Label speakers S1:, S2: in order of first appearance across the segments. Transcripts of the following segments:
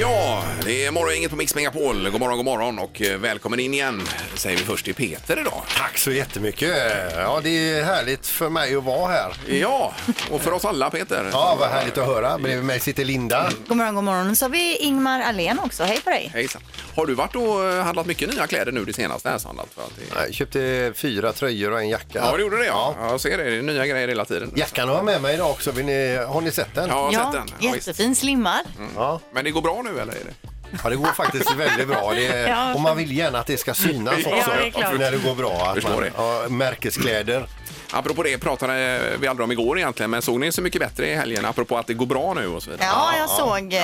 S1: Ja, det är morgongänget på Mix Megapol. God morgon, god morgon och eh, välkommen in igen säger vi först till Peter idag.
S2: Tack så jättemycket. Ja, det är härligt för mig att vara här.
S1: Ja, och för oss alla Peter.
S2: Ja, vad härligt att höra. Bredvid mig sitter Linda.
S1: Mm.
S3: God morgon, god morgon. Så har vi Ingmar Ahlén också. Hej på dig.
S1: Hejsan. Har du varit och eh, handlat mycket nya kläder nu det senaste? Här, Sandra? För att det...
S2: Jag köpte fyra tröjor och en jacka.
S1: Ja, det gjorde det ja. ja. Jag ser det, det är nya grejer hela tiden.
S2: Jackan har jag med mig idag också. Vill ni, har ni sett den?
S1: Ja, jag har sett den. Ja, visst. Mm.
S3: jättefin slimmad.
S2: Ja.
S1: Men det går bra nu eller? Är det?
S2: Ja, det går faktiskt väldigt bra. Det är,
S3: Ja.
S2: Och man vill gärna att det ska synas också.
S3: Ja, det är klart.
S2: När det går bra. Att
S1: Förstår
S2: man,
S1: det.
S2: ja, märkeskläder.
S1: Apropå det pratade vi aldrig om igår egentligen, men såg ni Så mycket bättre i helgen? Apropå att det går bra nu och så vidare.
S3: Ja, jag såg eh,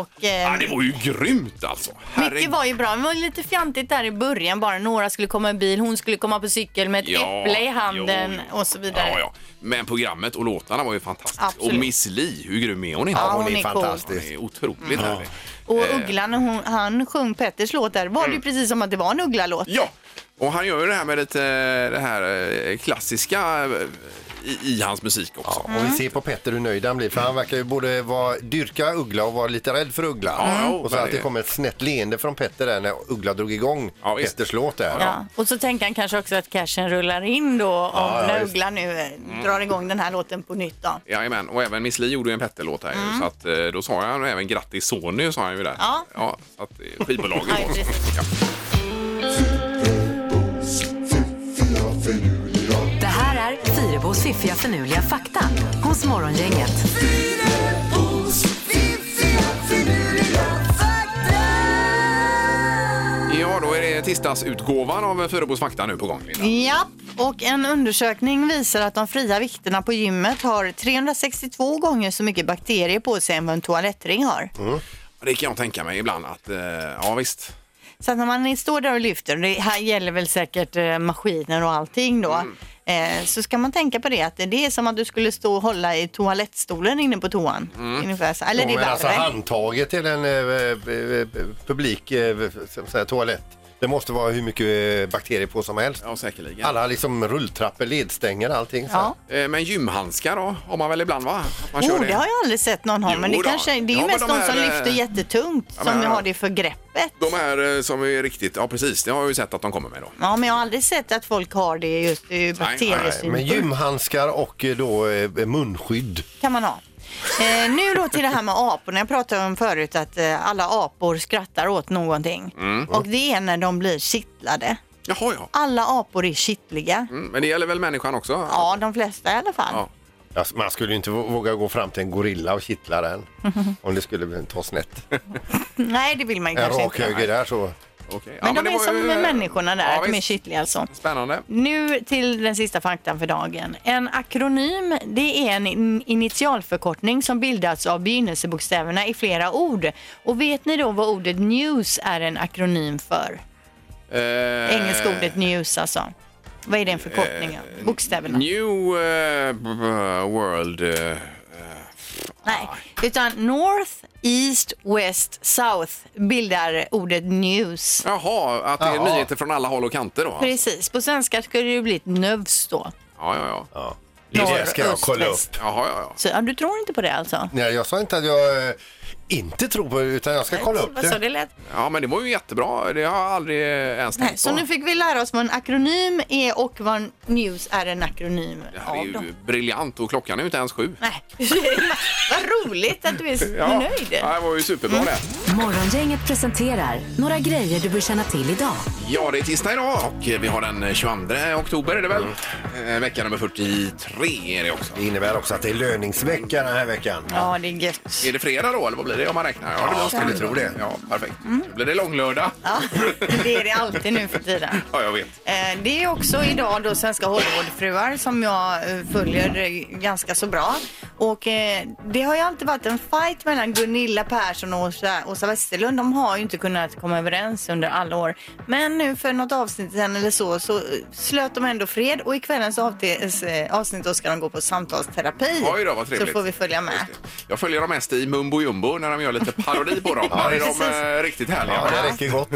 S3: och eh,
S1: Ja, det var ju grymt alltså.
S3: mycket var ju bra. Det var lite fjantigt där i början bara. Några skulle komma i bil, hon skulle komma på cykel med ett äpple i handen
S1: jo, jo.
S3: och så vidare.
S1: Ja, ja. Men programmet och låtarna var ju fantastiska.
S3: Absolut.
S1: Och Miss Li, hur grym är hon inte?
S3: Ja,
S2: hon,
S3: hon
S2: är,
S3: är Mm. cool.
S1: Hon
S2: fantastisk.
S1: är otroligt härlig.
S3: Och
S1: Eh.
S3: Ugglan, hon, han sjöng Petters låt där. Var det ju precis som att det var en Uggla-låt.
S1: Mm. Ja, och han gör ju det här med lite eh, det här eh, klassiska eh, i, i hans musik också.
S2: Och vi ser på Petter hur nöjd han blir. För han verkar ju både vara, dyrka Uggla och vara lite rädd för Uggla.
S1: Ja, jo,
S2: Och så att
S1: verkligen.
S2: det kom ett snett leende från Petter där när Uggla drog igång
S1: Ja, visst.
S2: Petters låt där.
S3: Ja. Och så tänker han kanske också att cashen rullar in då om
S2: Ja, ja,
S3: när
S2: just.
S3: Uggla nu
S1: Mm.
S3: eh, drar igång den här låten på nytt. Då.
S1: Jajamän, och även Miss Li gjorde ju en Petter-låt här ju, så att eh, då sa han även grattis Sony sa han ju där.
S3: Mm. Ja.
S1: ja så att eh, skivbolaget
S3: Ja,
S1: var så.
S3: precis.
S1: ja.
S4: Det här är Fyrabos fiffiga förnuliga fakta hos Morgongänget.
S1: ja, då är det tisdagsutgåvan av Fyrebos fakta nu på gång. Linda.
S3: Ja, och en undersökning visar att de fria vikterna på gymmet har 362 gånger så mycket bakterier på sig än vad en toalettring har.
S1: Mm. Det kan jag tänka mig ibland att, eh, ja visst.
S3: Så att när man står där och lyfter, det här gäller väl säkert eh, maskiner och allting då,
S1: Mm.
S3: eh, så ska man tänka på det att det är som att du skulle stå och hålla i toalettstolen inne på toan.
S1: Mm.
S3: Ungefär så. Eller det
S2: Ja,
S3: är
S2: men alltså
S3: värre.
S2: handtaget till en eh, eh, eh, publik eh, så att säga, toalett. Det måste vara hur mycket eh, bakterier på som helst.
S1: Ja, säkerligen.
S2: Alla liksom rulltrappor, ledstänger, allting. Så.
S3: Ja.
S1: Eh, Men gymhandskar då, har man väl ibland va? Att man
S3: Oh, det har jag aldrig sett någon ha, men det,
S1: Jo då.
S3: kanske, det är ju
S1: Ja, men
S3: mest
S1: de
S3: de,
S1: här,
S3: som
S1: eh,
S3: lyfter jättetungt
S1: ja, men,
S3: som
S1: ja.
S3: har det för greppet.
S1: De här eh, som är riktigt, ja precis, det har jag ju sett att de kommer med då.
S3: Ja, men jag har aldrig sett att folk har det just ur
S1: nej,
S2: Men
S3: bakteriesynpunkt.
S2: gymhandskar och eh, då eh, munskydd.
S3: kan man ha. Eh, nu då till det här med aporna. Jag pratade om förut att eh, alla apor skrattar åt någonting.
S1: Mm.
S3: Och det är när de blir kittlade.
S1: Jaha ja.
S3: Alla apor är kittliga.
S1: Mm, Men det gäller väl människan också?
S3: Ja, de flesta i alla fall.
S1: Ja.
S2: Alltså, man skulle ju inte vå- våga gå fram till en gorilla och kittla den. Om det skulle bli- ta snett.
S3: Nej, det vill man ju
S2: En
S3: kanske
S2: rak
S3: inte.
S2: höger där så.
S1: Okej.
S3: Men
S1: ja,
S3: de
S1: det
S3: är
S1: var
S3: som
S1: ju- eh,
S3: med människorna där,
S1: Ja,
S3: att de är
S1: visst.
S3: kittliga alltså.
S1: Spännande.
S3: Nu till den sista faktan för dagen. En akronym, det är en in- initialförkortning som bildats av begynnelsebokstäverna i flera ord. Och vet ni då vad ordet news är en akronym för?
S1: Eh,
S3: Engelska ordet news alltså. Vad är den förkortningen? Bokstäverna?
S1: New eh, b- b- World... eh,
S3: Nej, utan North, East, West, South bildar ordet news.
S1: Jaha, att det är
S2: Jaha.
S1: nyheter från alla håll och kanter då? Ja,
S3: Precis, på svenska skulle det ju bli ett növs då.
S1: ja, ja. ja.
S2: Ja. Det
S3: Norr,
S2: där ska jag
S3: öst,
S2: kolla upp.
S3: väst.
S1: Jaha, ja, ja.
S3: Så, ja, du tror inte på det alltså?
S2: Nej, jag sa inte att jag eh, inte tror på det utan jag ska kolla upp
S3: Vad sa
S2: det.
S3: det lät?
S1: Ja, men det var ju jättebra. Det har jag aldrig ens
S3: Nej,
S1: tänkt
S3: så
S1: på.
S3: nu fick vi lära oss vad en akronym är och vad en news är en akronym
S1: Det här är
S3: av.
S1: ju
S3: Då.
S1: briljant och klockan är ju inte ens sju.
S3: Nej, vad roligt att du är så
S1: Ja,
S3: nöjd. Mm.
S1: ja, det var ju superbra det.
S4: Morgongänget presenterar några grejer du bör känna till idag.
S1: Ja, det är tisdag idag och vi har den 22 oktober är det väl? Eh, vecka nummer 43 är det också.
S2: Det innebär också att det är löningsvecka den här veckan.
S3: Ja, det är gött.
S1: Är det fredag då eller vad blir det om man räknar? Ja,
S2: Ja,
S1: skulle
S2: jag tror det.
S1: Ja, perfekt. Då blir det långlördag.
S3: Mm. Ja, det är det alltid nu för tiden.
S1: Ja, jag vet.
S3: Eh, Det är också idag då Svenska Hollywoodfruar som jag eh, följer eh, ganska så bra. Och eh, det har ju alltid varit en fight mellan Gunilla Persson och Åsa, Åsa Westerlund. De har ju inte kunnat komma överens under alla år. Men nu för något avsnitt sen eller så, så eh, slöt de ändå fred och i kvällens avtes, eh, avsnitt då ska de gå på samtalsterapi.
S1: Oj då, vad
S3: så
S1: trevligt.
S3: får vi följa med.
S1: Just det. Jag följer dem mest i Mumbo Jumbo när de gör lite parodi på dem. Här är
S3: precis.
S1: de eh, riktigt härliga.
S2: Ja, det räcker gott.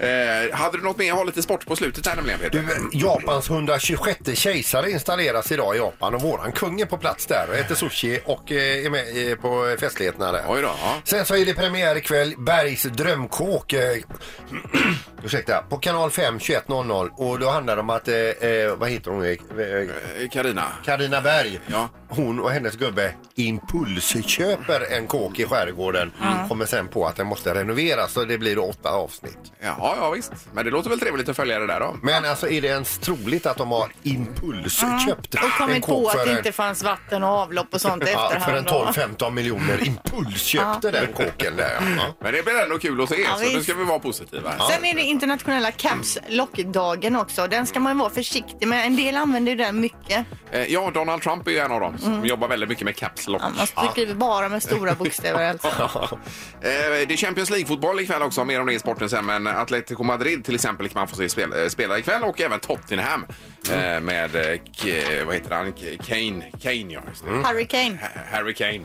S1: Eh, hade du något mer? Jag har lite sport på slutet här nämligen Peter.
S2: Du, Japans 126 kejsare installeras idag i Japan och våran kung är på plats där och äter sushi och eh, är med eh, på festligheterna där.
S1: Oj då, ja.
S2: Sen så är det premiär ikväll, Bergs drömkåk. eh, Ursäkta, på kanal 5 21.00 och då handlar det om att, eh, eh, vad heter hon? Eh,
S3: Mm.
S1: Eh, Carina.
S2: Karina Berg,
S1: Ja.
S2: hon och hennes gubbe impulsköper en kåk i skärgården. Kommer sen på att den måste renoveras så det blir då åtta avsnitt.
S1: Ja, ja visst. Men det låter väl trevligt att följa det där då.
S2: Men alltså är det ens troligt att de har impulsköpt
S3: Ah. Och
S2: en
S3: kommit
S2: kåk
S3: på att
S2: för
S3: det
S2: en-
S3: inte fanns vatten och avlopp och sånt
S2: Ja,
S3: efterhand.
S2: för en
S3: då?
S2: 12-15 miljoner impulsköpte den kåken där.
S3: Mm.
S2: Ja.
S1: Men det blir ändå kul att se,
S3: Ja,
S1: så nu
S3: visst.
S1: ska vi vara positiva.
S3: Sen är det internationella caps lock-dagen också. Den ska man ju vara försiktig med. En del använder ju den mycket.
S1: Eh, Ja, Donald Trump är ju en av dem som jobbar väldigt mycket med caps lock.
S3: Mm. Ja, man skriver bara med stora bokstäver alltså.
S1: Eh, Det är Champions League-fotboll ikväll också, mer om det i sporten sen. Men Atletico Madrid till exempel kan man få se spel, eh, spela ikväll och även Tottenham
S2: Mm.
S1: eh, med, eh, K- vad heter han, K- Kane, Kane ja, just det.
S2: Mm.
S3: Hurricane.
S1: Ha- Harry Kane.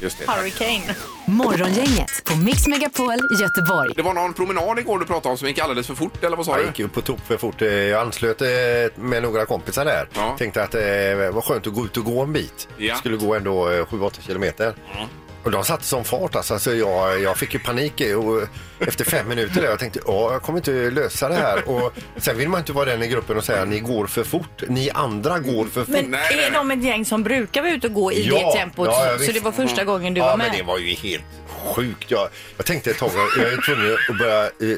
S1: Just det.
S3: Hurricane.
S4: Morgongänget på Mix Megapol Göteborg.
S1: Det var någon promenad igår du pratade om som gick alldeles för fort, eller vad sa
S2: Jag
S1: du?
S2: gick ju på tok för fort. Eh, Jag anslöt eh, med några kompisar där.
S1: Ja.
S2: Tänkte att det var skönt att gå ut och gå en bit.
S1: Ja.
S2: Skulle gå ändå eh, 7-8 kilometer. Och de satte som fart alltså. Så jag, jag fick ju panik eh, och efter fem minuter där. Jag tänkte ja, jag kommer inte lösa det här. Och sen vill man inte vara den i gruppen och säga ni går för fort. Ni andra går för fort.
S3: Men
S1: Nej, nej, nej.
S3: är de ett gäng som brukar vara ute och gå i
S2: Ja,
S3: det tempot?
S2: ja, ja,
S3: så
S2: visst. Mm.
S3: det var första gången du
S2: ja,
S3: var
S2: men det
S3: med?
S2: var ju helt sjukt. Jag, jag tänkte ett tag jag är tvungen att börja eh,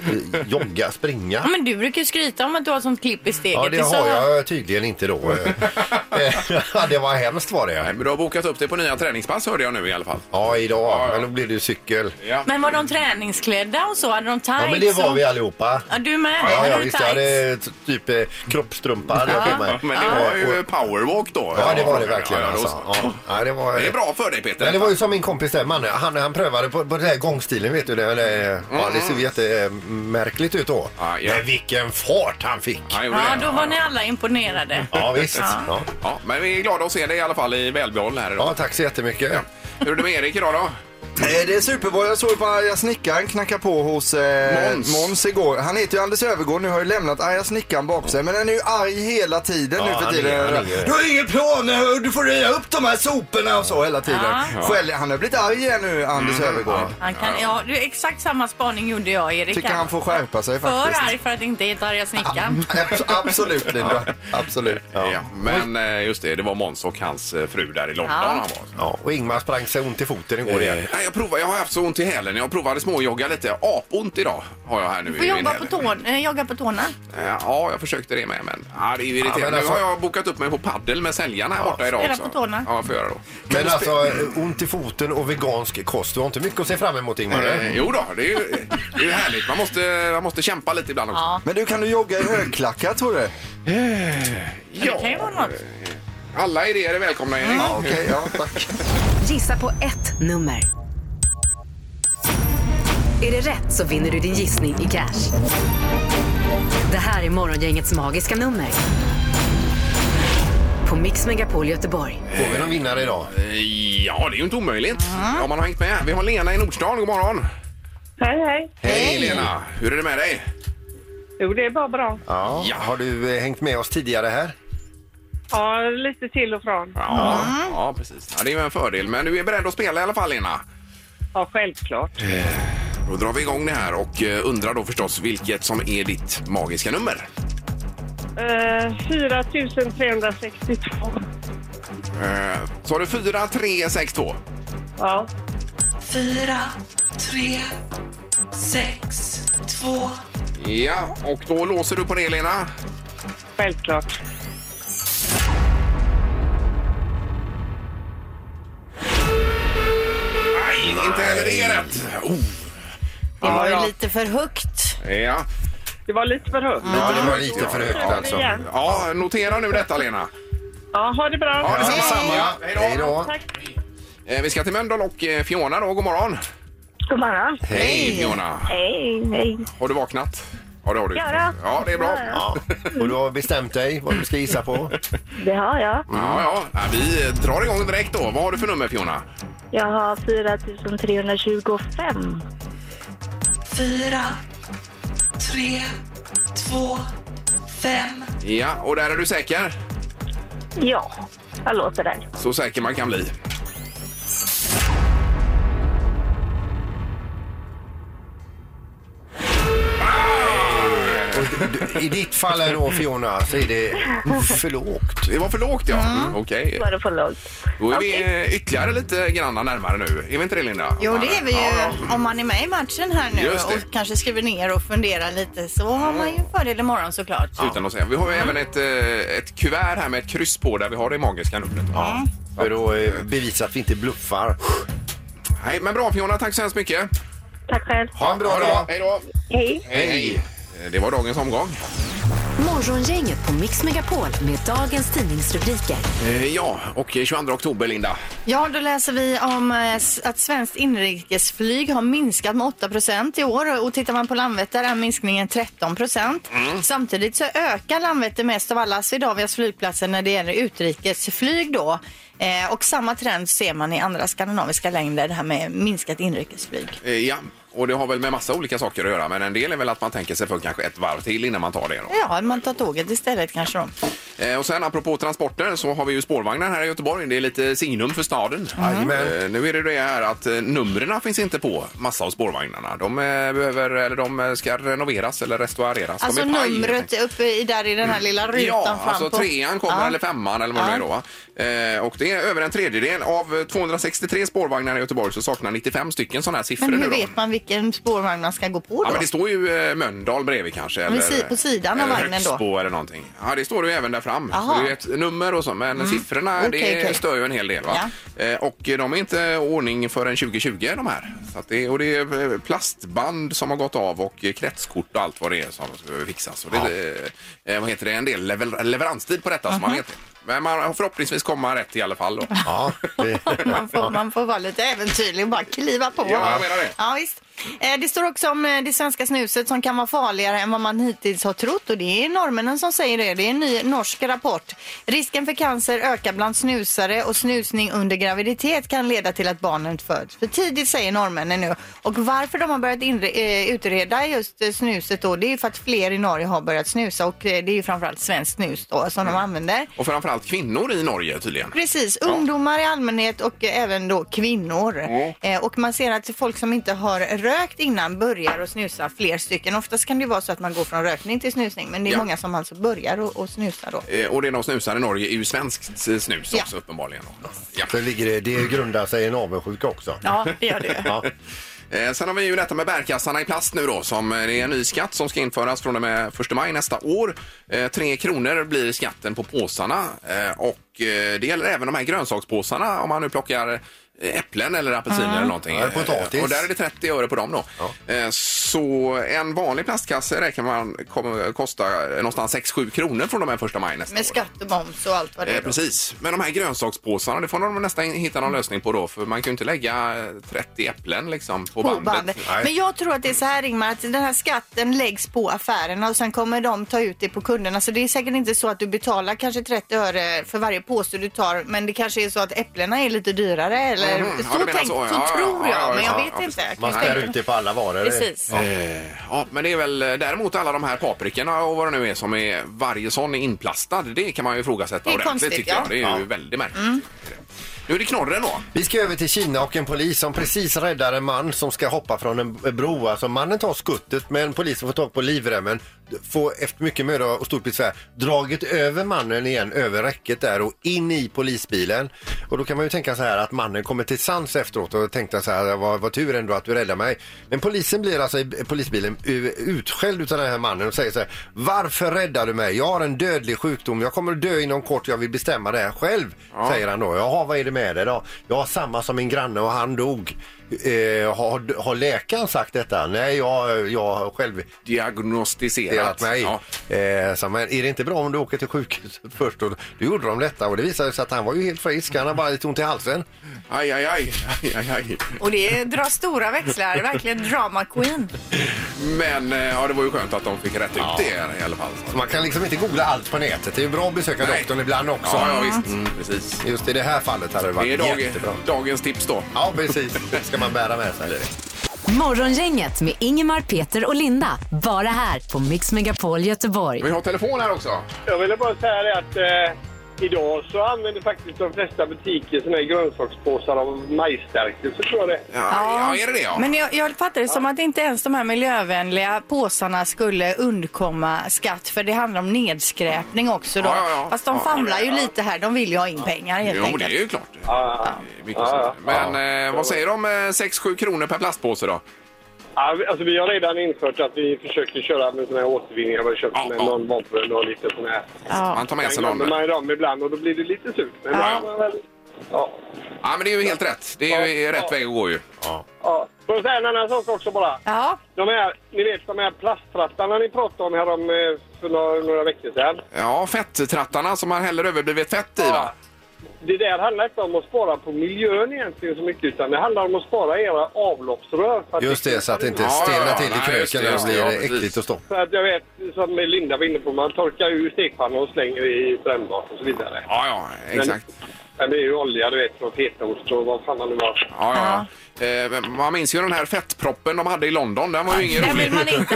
S2: eh, jogga, springa.
S3: Ja, men du brukar ju skryta om att du har sånt klipp i steget.
S2: Ja, det
S3: sa
S2: har
S3: han.
S2: jag tydligen inte då. Eh, det var hemskt var
S1: Nej,
S2: det.
S1: men du har bokat upp dig på nya träningspass hörde jag nu i alla fall.
S2: Ja,
S1: Ja,
S2: idag.
S1: ja.
S2: Men då blir det ju cykel.
S1: Ja.
S3: Men var de träningsklädda och så? Hade de tights?
S2: Ja, men det var
S3: och-
S2: vi allihopa.
S3: Ja, du med?
S2: Ja, ja
S3: Hade du
S2: visst. Jag
S3: tights?
S2: hade t- typ eh, kroppstrumpa. hade jag på mig. Eh,
S1: Men det var ju powerwalk då.
S2: Ja, det var det verkligen
S1: Ja, ja, då-
S2: alltså. Ja, ja, det var...
S1: Det är bra för dig Peter.
S2: Men det var ju som min kompis där, mannen, han, han prövade på, på den här gångstilen vet du. Det, det, ja, det såg jättemärkligt ut då.
S1: Mm. Ja, ja.
S2: Men vilken fart han fick!
S1: Ja, gjorde
S3: Ja,
S1: det.
S3: då var ni alla imponerade.
S2: Ja visst. Ja.
S1: Ja, men vi är glada att se dig i alla fall i välbehåll här idag.
S2: Ja, tack så jättemycket.
S1: Hur är det med Erik idag då?
S5: Eh, Det är superbra. Jag såg på Arga snickaren knacka på hos eh,
S1: Måns.
S5: Måns. igår. Han heter ju Anders Övergård nu, har ju lämnat Arga snickaren bakom sig. Men han är ju arg hela tiden
S2: Ja,
S5: nu
S2: han
S5: för
S2: är-
S5: tiden.
S2: han är-
S5: du har ingen plan, eh, du får röja upp de här soporna och så hela tiden. Skäller- han har blivit arg igen nu, Anders
S2: Mm.
S5: Övergård.
S3: Han kan, ja, du, exakt samma spaning gjorde jag, Erik.
S5: Tycker han får skärpa sig
S3: För
S5: faktiskt.
S3: arg för att inte heta arga snickaren.
S5: Abs- Absolut Linda, absolut.
S1: Ja. men eh, just det, det var Måns och hans eh, fru där i London.
S3: Ja.
S1: Han var.
S2: Ja, och Ingmar sprang sig ont i foten igår igen.
S1: Eh, Nej, jag, provar, jag har haft så ont i hälen. Jag provade småjogga lite. Apont idag har jag här nu.
S3: Du får
S1: i min
S3: jobba på
S1: hälen.
S3: tån, eh, jogga på tårna.
S1: Eh, Ja, jag försökte det med, men ja, det är ju irriterande.
S2: Ja, men alltså-
S1: Nu har jag bokat upp mig på paddel med säljarna här borta idag
S3: spela
S1: också.
S3: på tårna.
S1: Ja, jag får göra då.
S2: Men alltså, eh, ont i foten och vegansk kost. Du har inte mycket att se fram emot Ingmar. eller?
S1: Eh, jo då, det är ju det är ju härligt. Man måste, man måste kämpa lite ibland också.
S3: Ja.
S5: Men du, kan du jogga i högklackat tror du?
S3: Det kan ju vara något.
S1: Alla idéer är välkomna, Erik.
S5: Ja, okej, ja tack.
S4: Gissa på ett nummer. Är det rätt så vinner du din gissning i cash. Det här är Morgongängets magiska nummer. På Mix Megapol Göteborg.
S2: Får vi någon vinnare idag?
S1: Eh, Ja, det är ju inte omöjligt
S3: Mm.
S1: om man har hängt med. Vi har Lena i Nordstan. God morgon!
S6: Hej, hej.
S1: Hej Lena! Hur är det med dig?
S3: Mm.
S6: Jo, det är bara bra.
S2: Ja. Har du eh, hängt med oss tidigare här?
S6: Ja, lite till och från.
S1: Ja, ja precis. Ja, det är ju en fördel. Men du är beredd att spela i alla fall Lena.
S6: Ja, självklart.
S1: Då drar vi igång det här och eh, undrar då förstås vilket som är ditt magiska nummer.
S6: Eh, 4 362.
S1: Eh, Så har du 4362.
S6: Ja.
S1: Ja, och då låser du på det Lena.
S6: Självklart.
S1: Nej, inte heller det är rätt. Oh,
S3: Det var
S6: Ja,
S3: ju
S6: ja.
S3: lite för högt.
S1: ja.
S6: Det var lite för högt.
S2: Mm. Ja, det var lite för högt
S6: Ja,
S2: alltså.
S6: igen.
S1: ja, notera nu detta Lena.
S6: Ja, ha det bra.
S1: Ja, detsamma.
S3: Hej.
S1: Ja,
S2: Hej då.
S6: Tack.
S1: Eh, Vi ska till Mölndal och eh, Fiona då. God morgon.
S6: God morgon.
S1: Hej Fiona.
S6: Hej, hej.
S1: Har du vaknat? Ja, det har du.
S6: Ja, då.
S1: Ja, det är bra.
S6: Ja,
S1: Ja,
S2: Och du har bestämt dig vad du ska gissa på?
S6: Det har jag.
S1: ja. Ja, Vi eh, drar igång direkt då. Vad har du för nummer Fiona?
S6: Jag har 4325.
S7: Fyra, tre, två, fem.
S1: Ja, och där är du säker?
S6: Ja, jag låter det.
S1: Så säker man kan bli.
S2: Och d- I ditt fall är då Fiona så är det för lågt.
S1: Det var för lågt ja. Mm. Okej.
S6: Bara för lågt.
S1: Då är vi eh, ytterligare lite granna närmare nu. Är vi inte det Linda?
S3: Jo, det är vi ju.
S1: Ja, ja.
S3: Om man är med i matchen här nu
S1: Just det.
S3: och kanske skriver ner och funderar lite så har man ju fördel imorgon såklart.
S1: Utan att säga. Vi har ju även ett, eh, ett kuvert här med ett kryss på där vi har det magiska numret. Ja.
S2: För då eh, bevisa att vi inte bluffar.
S1: Nej, men bra Fiona, tack så hemskt mycket.
S6: Tack själv.
S2: Ha en bra
S1: Ja,
S2: dag.
S1: Hej då.
S6: Hej.
S1: Hej. Eh, Det var dagens omgång.
S4: Morgongänget på Mix Megapol med dagens tidningsrubriker.
S1: Eh, Ja, och eh, 22 oktober Linda.
S3: Ja, då läser vi om eh, s- att svenskt inrikesflyg har minskat med 8 i år och tittar man på Landvetter är minskningen 13
S1: Mm.
S3: Samtidigt så ökar Landvetter mest av alla Swedavias flygplatser när det gäller utrikesflyg då. Eh, och samma trend ser man i andra skandinaviska länder, det här med minskat inrikesflyg.
S1: Eh, Ja, och det har väl med massa olika saker att göra. Men en del är väl att man tänker sig för kanske ett varv till innan man tar det. Då.
S3: Ja, man tar tåget istället kanske då.
S1: Eh, Och sen apropå transporter så har vi ju spårvagnar här i Göteborg. Det är lite signum för staden.
S2: Jajamän.
S1: Eh, Nu är det det här att eh, numren finns inte på massa av spårvagnarna. De, eh, behöver, eller de eh, ska renoveras eller restaureras. De
S3: Alltså
S1: är paj, helt
S3: numret
S1: enkelt.
S3: är uppe i, där i den här lilla rutan
S1: Ja,
S3: fram
S1: alltså
S3: på.
S1: trean kommer
S3: Ja.
S1: eller femman eller vad det
S3: Ja.
S1: är då. va? Eh, och det är över en tredjedel av eh, 263 spårvagnar i Göteborg så saknar 95 stycken sådana här siffror
S3: Men
S1: nu
S3: hur
S1: då.
S3: vet man vilken spårvagn man ska gå på då?
S1: Ja, men det står ju eh, Mölndal bredvid kanske.
S3: Men si- på sidan av
S1: eller eh,
S3: vagnen då?
S1: Högsbo eller någonting. Ja, det står det ju även där fram.
S3: Jaha. Mm.
S1: Så det är ett nummer och så, men siffrorna
S3: Okej,
S1: det
S3: okej.
S1: stör ju en hel del. Va? Eh, och de är inte i ordning förrän 2020 de här. Så att det, och det är eh, plastband som har gått av och eh, kretskort och allt vad det är som behöver fixas. Och det, eh, vad heter det, en del lever, leveranstid på detta som
S3: Mhm.
S1: man vet. Men man förhoppningsvis kommer rätt i alla fall då.
S2: Ja, det-
S3: man, får, man får vara lite äventyrlig och bara kliva på.
S1: Ja, jag menar det.
S3: Ja, visst. Eh, Det står också om eh, det svenska snuset som kan vara farligare än vad man hittills har trott och det är norrmännen som säger det. Det är en ny norsk rapport. Risken för cancer ökar bland snusare och snusning under graviditet kan leda till att barnet föds för tidigt säger norrmännen nu. Och varför de har börjat inre, eh, utreda just eh, snuset då det är ju för att fler i Norge har börjat snusa och eh, det är ju framförallt svenskt snus då som
S1: Mm.
S3: de använder.
S1: Och framförallt kvinnor i Norge tydligen.
S3: Precis, ungdomar i allmänhet och även då kvinnor. Eh, och man ser att folk som inte har rökt innan börjar att snusa fler stycken. Oftast kan det ju vara så att man går från rökning till snusning men det är
S1: Ja.
S3: många som alltså börjar att- att snusa då.
S1: Eh, Och det de snusar i Norge är ju svenskt eh, snus
S3: Ja.
S1: också uppenbarligen. då. Ja.
S2: så ligger det, det grundar sig i en avundsjuka också.
S3: Ja, det gör det.
S2: Ja.
S1: Eh, Sen har vi ju detta med bärkassarna i plast nu då som eh, det är en ny skatt som ska införas från och med 1 maj nästa år. Eh, Tre kronor blir skatten på påsarna eh, och eh, det gäller även de här grönsakspåsarna om man nu plockar eh, äpplen eller apelsiner eller någonting.
S2: Ja, potatis.
S1: Eh, Och där är det 30 öre på dem då. Eh, Så en vanlig plastkasse räknar man kommer kosta eh, någonstans 6-7 kronor från och med 1 maj nästa
S3: Med
S1: år.
S3: skatt och moms och allt vad det
S1: Eh,
S3: är. då.
S1: precis, men de här grönsakspåsarna det får de nästan hitta någon lösning på då för man kan ju inte lägga eh, 30 äpplen liksom på,
S3: På
S1: bandet.
S3: bandet. Men jag tror att det är så här Ingmar, att den här skatten läggs på affärerna och sen kommer de ta ut det på kunderna. Så det är säkert inte så att du betalar kanske 30 öre för varje påse du tar men det kanske är så att äpplena är lite dyrare eller
S1: Mhm, ja,
S3: så,
S1: du menar så,
S3: tänk, så,
S1: ja, ja,
S3: tror
S1: ja,
S3: jag.
S1: ja,
S3: men jag
S1: ja,
S3: vet
S1: ja,
S3: inte. Jag kan
S2: Man
S3: ju
S2: spär
S3: tänka-
S2: ut det på alla varor.
S3: Precis.
S1: Eh, Ja, men det är väl eh, däremot alla de här paprikorna och vad det nu är som är varje sån är inplastad. Det kan man ju ifrågasätta
S3: Det är
S1: ordentligt
S3: konstigt,
S1: tycker jag.
S3: ja. Mm.
S1: Det är ju väldigt märkligt. Nu är det knorren då.
S2: Vi ska över till Kina och en polis som precis räddar en man som ska hoppa från en bro. Alltså mannen tar skuttet men polisen får tag på livremmen. Får efter mycket möda och stort besvär dragit över mannen igen över räcket där och in i polisbilen. Och då kan man ju tänka så här att mannen kommer till sans efteråt och tänkte så här vad, vad tur ändå att du räddade mig. Men polisen blir alltså i polisbilen u- utskälld utav den här mannen och säger så här varför räddar du mig? Jag har en dödlig sjukdom. Jag kommer att dö inom kort. Jag vill bestämma det här själv. Säger han då. Jaha, vad är det med dig då? Jag har samma som min granne och han dog. Eh, har, har läkaren sagt detta? Nej, jag, jag har själv
S1: Diagnostiserat.
S2: delat mig.
S1: Ja.
S2: Eh, så, men är det inte bra om du åker till sjukhuset först? Och då gjorde de detta och det visade sig att han var ju helt frisk. Han hade bara lite ont i halsen.
S1: Aj, aj, aj. aj, aj, aj.
S3: Och det drar stora växlar, verkligen drama queen.
S1: Men eh, ja, det var ju skönt att de fick rätt ut det i alla fall.
S2: Så man kan liksom inte googla allt på nätet. Det är ju bra att besöka
S1: Nej.
S2: doktorn ibland också.
S1: Ja, ja visst. Mm, Precis.
S2: Just i det här fallet hade det
S1: Det är
S2: varit
S1: dag,
S2: jättebra.
S1: dagens tips då.
S2: Ja, precis. Det ska man bära med sig.
S4: Morgongänget med Ingemar, Peter och Linda. Bara här på Mix Megapol Göteborg.
S1: Vi har telefon här också.
S8: Jag ville bara säga det att eh, idag så använder faktiskt de flesta butiker såna här grönsakspåsar av majsstärkelse tror jag det
S1: Ja, ja. är det det? Ja.
S3: Men jag, jag fattar det som att inte ens de här miljövänliga påsarna skulle undkomma skatt för det handlar om nedskräpning också då.
S1: Ja, ja, ja.
S3: Fast de
S1: Ja,
S3: famlar
S1: ja,
S3: ju
S1: ja.
S3: lite här, de vill ju ha in pengar helt
S1: Jo, det
S3: enkelt.
S1: är ju klart.
S8: Ja,
S1: Det är mycket sånt. Men eh, vad säger de? 6-7 kronor per plastpåse då?
S8: Ja, vi- alltså, vi har redan infört att vi försöker köra med såna här återvinningar. Vi har köpt
S1: Ja,
S8: med
S1: ja.
S8: någon bobbel och lite sån här.
S1: Man tar med sig
S8: Sen glömmer
S1: någon.
S8: man ju dem ibland och då blir det lite surt. Men
S3: Ja.
S8: då är man väl- ja.
S1: Ja, men det är ju helt rätt. Det är ju
S8: Ja,
S1: rätt
S8: ja.
S1: väg att gå ju. Ja.
S8: Ja. Får jag säga en annan sak också bara?
S3: Ja,
S8: De här, ni vet de här plasttrattarna ni pratade om här om, eh, för några, några veckor sedan.
S1: Ja, fetttrattarna som man häller överblivet fett i va?
S8: Det där handlar inte om att spara på miljön egentligen så mycket utan det handlar om att spara era avloppsrör. För att
S2: Just det, så att det inte
S1: Ja, ja,
S2: stelnar
S1: ja.
S2: till i
S1: Nej, just det,
S2: kröken och
S1: just
S2: det
S1: det.
S2: blir
S1: Ja, precis.
S2: äckligt att stå.
S8: För att jag vet, som Linda var inne på, man torkar ur stekpannan och slänger i brännbart och så vidare.
S1: Ja, ja, exakt.
S8: Men det är ju olja du vet från fetaost och vad fan man nu var.
S1: Ja, ja, ja. Eh, men man minns ju den här fettproppen de hade i London. Den var ju ingen
S3: det
S1: rolig.
S3: vill man inte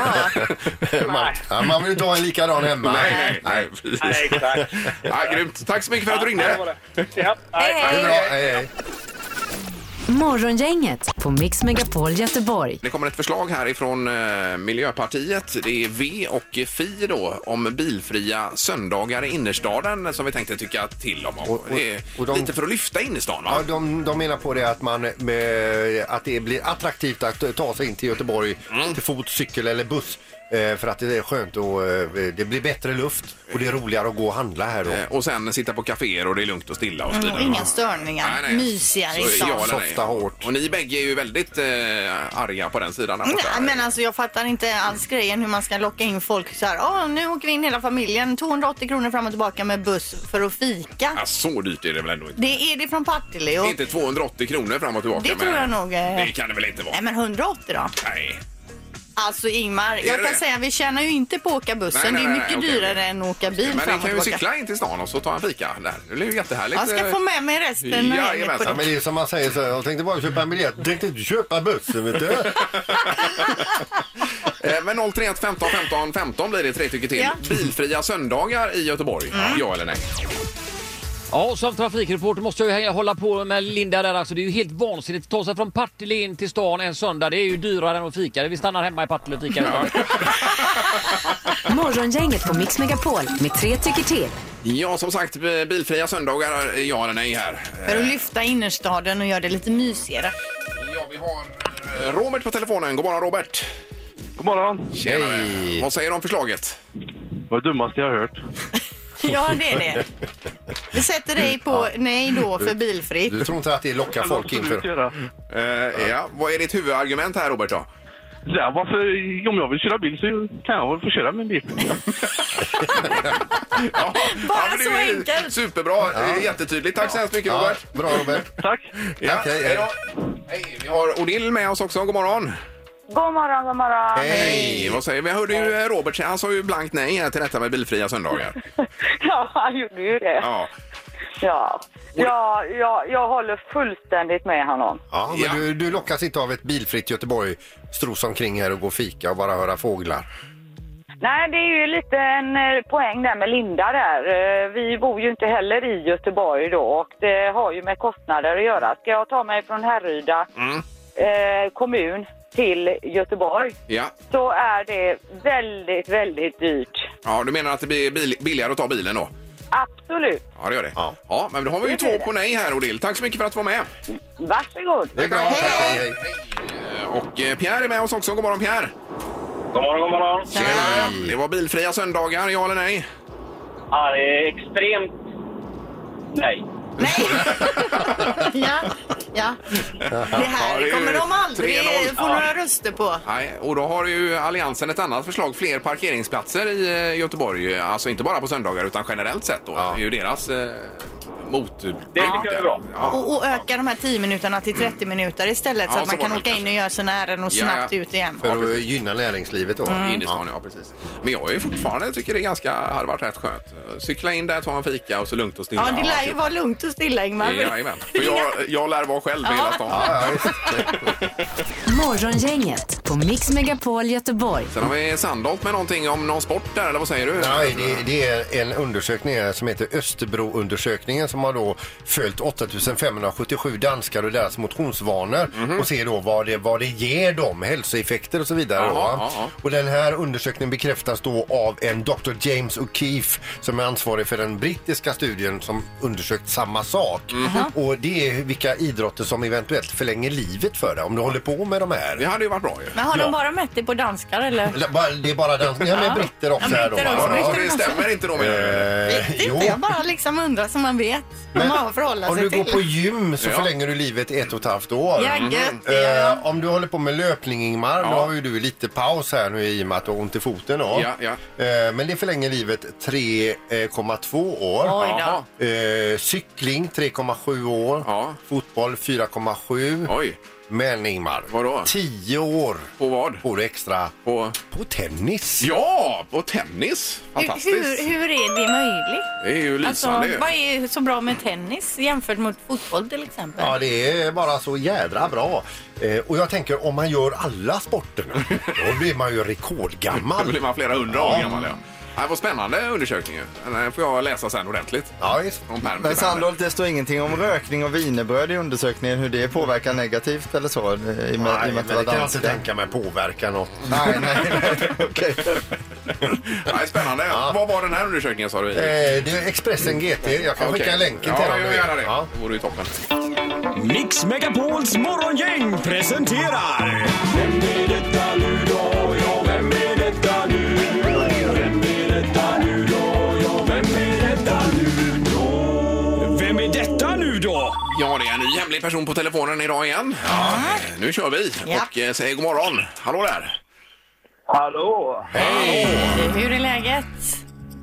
S3: ha.
S2: Man, ja, man vill inte ha en likadan hemma.
S1: Nej, nej, nej. precis.
S8: Nej, exakt.
S1: Ja, grymt. Tack så mycket för att du
S8: Ja, det var
S1: ringde.
S8: det. Ja, nej.
S2: Det är
S3: Hej!
S2: bra. Hej, hej.
S4: Morgongänget på Mix Megapol Göteborg.
S1: Det kommer ett förslag här ifrån eh, Miljöpartiet. Det är V och Fi då om bilfria söndagar i innerstaden som vi tänkte tycka till om. Och,
S2: Och- och-
S1: det är
S2: och de-
S1: Lite för att lyfta innerstan va?
S2: Ja, de, de menar på det att, man, eh, att det blir attraktivt att ta sig in till Göteborg
S1: Mm.
S2: till fot, cykel eller buss. eh, För att det är skönt och eh, det blir bättre luft och det är roligare att gå och handla här då.
S1: Eh, Och sen sitta på kaféer och det är lugnt och stilla och så vidare.
S3: Och
S1: va?
S3: Mm, Inga störningar,
S1: Nej, nej.
S3: mysigare i
S1: Så,
S3: stan.
S1: ja eller nej.
S2: Softa hårt.
S1: Och ni bägge är ju väldigt eh, arga på den sidan. här borta.
S3: Nej, men alltså jag fattar inte alls grejen hur man ska locka in folk så här. "Ah, nu åker vi in hela familjen, 280 kronor fram och tillbaka med buss för att fika.
S1: ja, så dyrt är det väl ändå inte?
S3: Det är det från Partille. Och,
S1: Inte 280 kronor fram och tillbaka.
S3: Det tror jag nog, eh.
S1: Det kan det väl inte vara?
S3: nej men 180 då?
S1: Nej.
S3: Alltså Ingmar,
S1: Är
S3: jag
S1: det
S3: kan
S1: det?
S3: säga vi tjänar ju inte på att åka bussen.
S1: Nej, nej,
S3: det är
S1: nej,
S3: mycket
S1: nej, okej,
S3: dyrare
S1: okej.
S3: än att åka bil
S1: Men
S3: fram
S1: ni
S3: och
S1: kan ju
S3: tillbaka.
S1: cykla in till stan och så ta en fika. Där. Det blir ju jättehärligt.
S3: Jag ska
S1: eh,
S3: få med mig resten när jag är
S1: Jajamensan.
S3: på
S2: Ja, men det är som man säger så här, jag tänkte bara köpa en biljett, jag tänkte inte köpa bussen vet du.
S1: Eh, Men 031 15 15 15 blir det tre tycker till.
S3: Ja. Mm.
S1: Bilfria söndagar i Göteborg. Ja eller nej?
S8: Ja, som trafikreporter måste jag ju hänga- hålla på med Linda där. Alltså, det är ju helt vansinnigt. Ta sig från Partille in till stan en söndag, det är ju dyrare än att fika. Vi stannar hemma i Partille och fikar.
S4: Morgongänget på Mix Megapol med tre tycker till.
S1: Ja, som sagt, eh, bilfria söndagar. eh, Ja eller nej här. Eh,
S3: För att lyfta innerstaden och göra det lite mysigare.
S1: Ja, vi har eh, Robert på telefonen. God morgon Robert.
S8: God morgon.
S1: Tjenare. Vad säger du om förslaget?
S8: Vad dummaste jag har hört.
S3: Ja, det är det. Vi sätter dig på nej då för bilfritt.
S2: Du tror inte att det lockar folk in för...
S8: göra.
S1: Eh, ja. Vad är ditt huvudargument här Robert då?
S8: Ja, varför, om jag vill köra bil så kan jag väl få köra min bil.
S1: Ja,
S3: Bara
S1: men det
S3: så
S1: är ju
S3: enkelt.
S1: Superbra, eh, jättetydligt. Tack så hemskt mycket
S2: Ja,
S1: Robert.
S2: bra Robert.
S8: Tack.
S1: Ja,
S2: Tack, hej,
S1: hej då. Hej, vi har Odil med oss också. God morgon.
S9: God morgon, god morgon.
S1: Hej, vad säger vi? Jag hörde ju eh, Robert säga, han sa ju blankt nej här till detta med bilfria söndagar.
S9: Ja, han gjorde ju det.
S1: Ja.
S9: Ja. Ja, ja, jag håller fullständigt med honom.
S2: Ja, men
S1: Ja.
S2: Du, du lockas inte av ett bilfritt Göteborg, strosa omkring här och gå och fika och bara höra fåglar.
S9: Nej, det är ju lite en eh, poäng där med Linda där. Eh, Vi bor ju inte heller i Göteborg då och det har ju med kostnader att göra. Ska jag ta mig från Härryda eh, kommun till Göteborg
S1: Ja.
S9: så är det väldigt, väldigt dyrt.
S1: ja, du menar att det blir bil- billigare att ta bilen då?
S9: Absolut.
S1: Ja, det gör det. Ja,
S2: Ja.
S1: men då har vi ju
S9: Det blir
S1: två
S9: det.
S1: på nej här Odil. Tack så mycket för att du var med.
S9: Varsågod.
S2: Det är bra. Hej, hej, hej.
S1: Eh, Och eh, Pierre är med oss också. God morgon Pierre.
S8: God morgon, god morgon.
S1: Tjena. Det var bilfria söndagar, ja eller nej?
S8: Ja, det är extremt... Nej.
S3: Ja,
S10: Ja.
S1: Det
S10: Det här kommer de aldrig få några röster på.
S1: Nej, och då har ju Alliansen ett annat förslag, fler parkeringsplatser i eh, Göteborg. Alltså inte bara på söndagar utan generellt sett då. Det är ju deras eh, mot... Det
S10: tycker jag är bra. Och, och öka de här 10 minuterna till 30 minuter istället så
S1: Ja,
S10: att
S1: så
S10: man kan
S1: var det
S10: åka in och göra sina ärenden och
S1: Ja, ja.
S10: snabbt ut igen.
S2: För att gynna näringslivet då.
S1: Mm. Innerstan, ja precis. Men jag är ju fortfarande, tycker det är ganska, hade varit rätt skönt. Cykla in där, ta en fika och så lugnt och stilla. typ.
S10: Ja, det lär ju vara lugnt och stilla Ingmar.
S1: Jajamän. För jag, jag lär vara själv i hela stan. Mm.
S4: Morgongänget på Mix Megapol Göteborg.
S1: Sen har vi Sandholt med någonting om någon sport där, eller vad säger du?
S2: Nej, det, det är en undersökning här som heter Österbroundersökningen som har då följt 8577 danskar och deras motionsvanor och ser då vad det, vad det ger dem, hälsoeffekter och så vidare.
S1: Jaha,
S2: då, va?
S1: ja, ja.
S2: Och den här undersökningen bekräftas då av en Dr. James O'Keefe som är ansvarig för den brittiska studien som undersökt samma sak. Och det är vilka idrotter som eventuellt förlänger livet för dig om du håller på med de här.
S1: Det hade ju varit bra ju.
S10: Men har
S2: Ja.
S10: de bara mätt det på danskar eller?
S2: Eller bara- Det är bara danskar, ja, men britter också.
S10: Ja,
S2: här då,
S10: britter
S2: va?
S10: också,
S2: Ja,
S10: britter också.
S1: inte då
S2: Eh,
S10: Det är
S2: jo,
S10: inte, jag bara liksom undrar så man vet vad man har att förhålla
S2: om
S10: sig
S3: Alltså,
S2: du går
S10: till.
S2: på gym så förlänger du livet i ett och ett halvt år.
S10: Ja, gött,
S2: Mm.
S10: det gör
S2: Eh, om du håller på med löpning Ingmar, då har ju du lite paus här nu i och med att du har ont i foten. Då.
S1: Ja, ja.
S2: Eh, men det förlänger livet 3,2 år.
S1: Oj då.
S2: Eh, cykling 3,7 år. Fotboll 4,7.
S1: Oj.
S2: Men Ingmar,
S1: Vadå?
S2: 10 år
S1: på vad?
S2: får du extra
S1: på,
S2: på tennis.
S1: Ja, på tennis! Fantastiskt.
S10: Hur, hur är det möjligt?
S1: Det är ju
S10: Alltså,
S1: lysande ju.
S10: vad är så bra med tennis jämfört mot fotboll till exempel?
S2: Ja, det är bara så jädra bra. Eh, och jag tänker om man gör alla sporterna, då blir man ju rekordgammal.
S1: Då blir man flera hundra år gammal. Ja. Det här var spännande undersökning ju. Den här får jag läsa sen ordentligt.
S2: Ja, visst.
S1: Från pärm
S5: Men
S1: till pärm.
S5: Sandholt, det står ingenting om rökning och wienerbröd i undersökningen, hur det påverkar negativt eller så? I
S11: eh,
S5: och med, i och med
S2: Nej, men
S5: att det var
S2: det kan jag inte
S5: danskar.
S2: tänka mig påverka något.
S5: Nej, nej, nej. Okej.
S1: Nej, spännande. Vad var den här undersökningen sa du?
S2: Eh, det är Expressen GT. Jag kan
S1: Okej.
S2: skicka länken till
S1: ja,
S2: dem.
S1: Ja, gärna det. Det vore ju toppen.
S12: Mix Megapols morgongäng presenterar... Vem är detta nu då? Ja, vem är detta nu? Vem är detta nu då? Ja, vem är detta nu då? Vem är detta nu då?
S1: Ja, det är en ny hemlig person på telefonen idag igen. Ja. eh, Nu kör vi och eh, säger god morgon. Hallå där!
S8: Hallå!
S10: Hej! Hur är läget?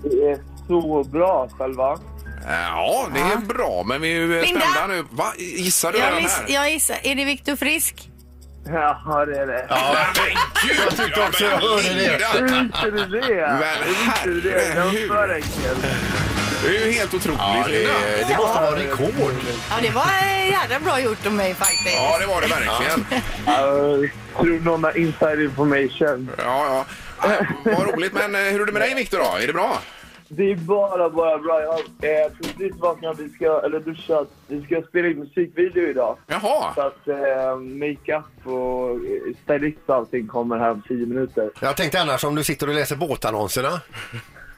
S8: Det är så bra själva.
S1: Eh, Ja, det är bra, men vi är ju eh,
S10: Linda?
S1: spända nu. Va? Gissar du
S10: Jag,
S1: den
S10: miss,
S1: här?
S10: jag gissar, är det Viktor Frisk?
S8: Ja, det är det.
S1: Ja, men gud! Jag
S2: tyckte också jag hörde
S1: det.
S8: Hur visste du det?
S1: Men
S8: Hur visste du det? Det var för enkelt.
S1: Det är ju helt otroligt.
S2: Ja, det, det måste vara rekord.
S10: Ja, det var eh, jävla bra gjort av mig faktiskt.
S1: Ja, det var det verkligen.
S8: Jag Eh, tror någon har inside information.
S1: Ja, ja. Eh, Vad roligt. Men eh, hur är det med dig, Viktor? då? Är det bra?
S8: Det är bara, bara bra. Jag har eh, precis vaknat. Vi ska, eller duschat. Vi ska spela in musikvideo idag.
S1: Jaha!
S8: Så att eh, makeup och eh, stylist och allting kommer här om tio minuter.
S2: Jag tänkte annars om du sitter och läser båtannonserna.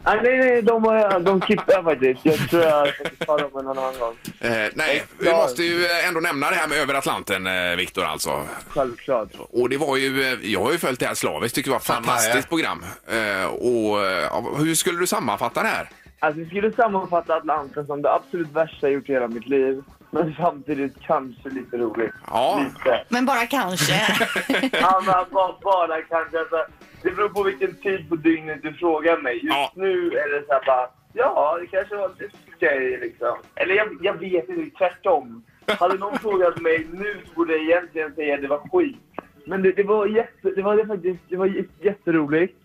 S8: Ah, nej, nej, de, har- de kippar faktiskt. Jag tror jag ska ta dem en annan gång.
S1: Eh, nej, vi måste ju eh, ändå nämna det här med över Atlanten, eh, Viktor alltså.
S8: Självklart.
S1: Och det var ju, eh, jag har ju följt det här slaviskt, tycker det var ett fantastiskt program. Eh, och eh, ja, hur skulle du sammanfatta det här?
S8: Alltså, jag skulle sammanfatta Atlanten som det absolut värsta jag gjort i hela mitt liv. Men samtidigt kanske lite roligt.
S1: Ja.
S8: Lite.
S10: Men bara kanske.
S8: Ja, men bara, bara kanske. Alltså, det beror på vilken tid på dygnet du frågar mig. Just nu är det så här bara, ja, det kanske var lite okej liksom. Eller jag, jag vet inte, tvärtom. Hade någon frågat mig nu så borde jag egentligen säga att det var skit. Men det, det var jätte, det var det faktiskt, det var j- jätteroligt.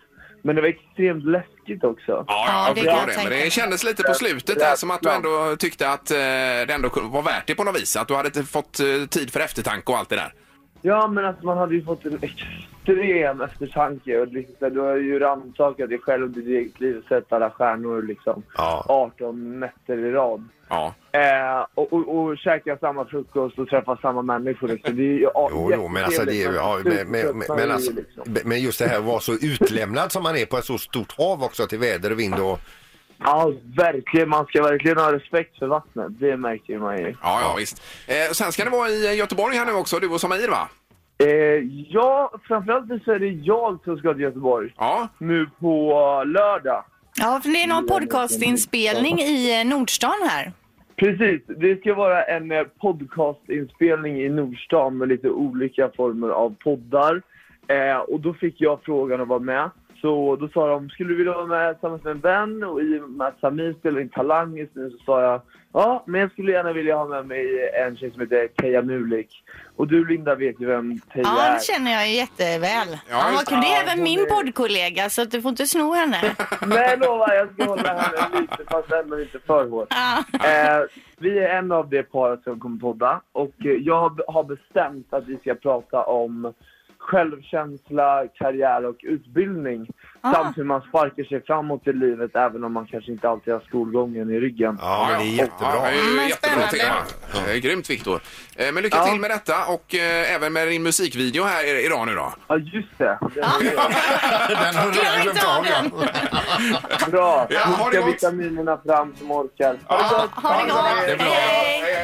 S8: Men det var extremt läskigt också.
S1: Ja, jag
S8: det
S1: förstår
S8: kan jag
S1: det. Men
S8: tänka
S1: det
S8: mig.
S1: kändes lite på slutet där som att du ändå tyckte att eh, det ändå kunde- var värt det på något vis. Att du hade inte fått eh, tid för eftertanke och allt det där.
S8: Ja, men alltså man hade ju fått en extrem eftertanke. Och liksom, så här, du har ju rannsakat dig själv och ditt eget liv och sett alla stjärnor liksom, 18 nätter i rad.
S1: Ja.
S8: Eh, och, och, och käka samma frukost och träffa samma människor. Liksom. Det är ju, ja,
S2: Jo, jo, men alltså, det är, ju- ja, men, men, men, men, alltså,
S8: liksom.
S2: men just det här att vara så utlämnad som man är på ett så stort hav också till väder och vind och
S8: Ja, verkligen. Man ska verkligen ha respekt för vattnet. Det märker man ju.
S1: Ja, ja, visst. Eh, och sen ska det vara i Göteborg här nu också, du och Samir va?
S8: Eh, ja, framförallt så är det jag som ska till Göteborg. Nu på lördag.
S10: Ja, för det är någon podcastinspelning i eh, Nordstan här.
S8: Precis, det ska vara en eh, podcastinspelning i Nordstan med lite olika former av poddar. Eh, och då fick jag frågan att vara med. Så då sa de, skulle du vilja vara med tillsammans med en vän? Och i och med att Samir spelar in Talang just nu så sa jag, ja, men jag skulle gärna vilja ha med mig en tjej som heter Teija Mulik. Och du Linda vet ju vem Teija
S3: Ja,
S8: är.
S3: det känner jag ju jätteväl. Ja,
S8: just
S3: det
S8: det.
S3: är även min poddkollega så att du får inte sno henne.
S8: Nej, jag lovar, jag ska hålla henne lite, fast ändå inte för hårt. Eh, vi är en av det paret som kommer podda och eh, jag har- har bestämt att vi ska prata om självkänsla, karriär och utbildning. Samt hur man sparkar sig framåt i livet även om man kanske inte alltid har skolgången i ryggen.
S2: Ja, men det är jättebra.
S1: Ja, det är ju
S2: Men
S1: jättebra tema.
S2: spännande.
S1: Eh, Grymt Viktor. Eh, Men lycka
S8: Ja.
S1: till med detta och eh, även med din musikvideo här i- idag nu då.
S8: Ja, just det.
S2: Den har du redan glömt av. ja.
S8: Bra!
S1: Ja, ha det
S8: Skicka
S1: gott.
S8: vitaminerna fram som orkar. Ha det gott!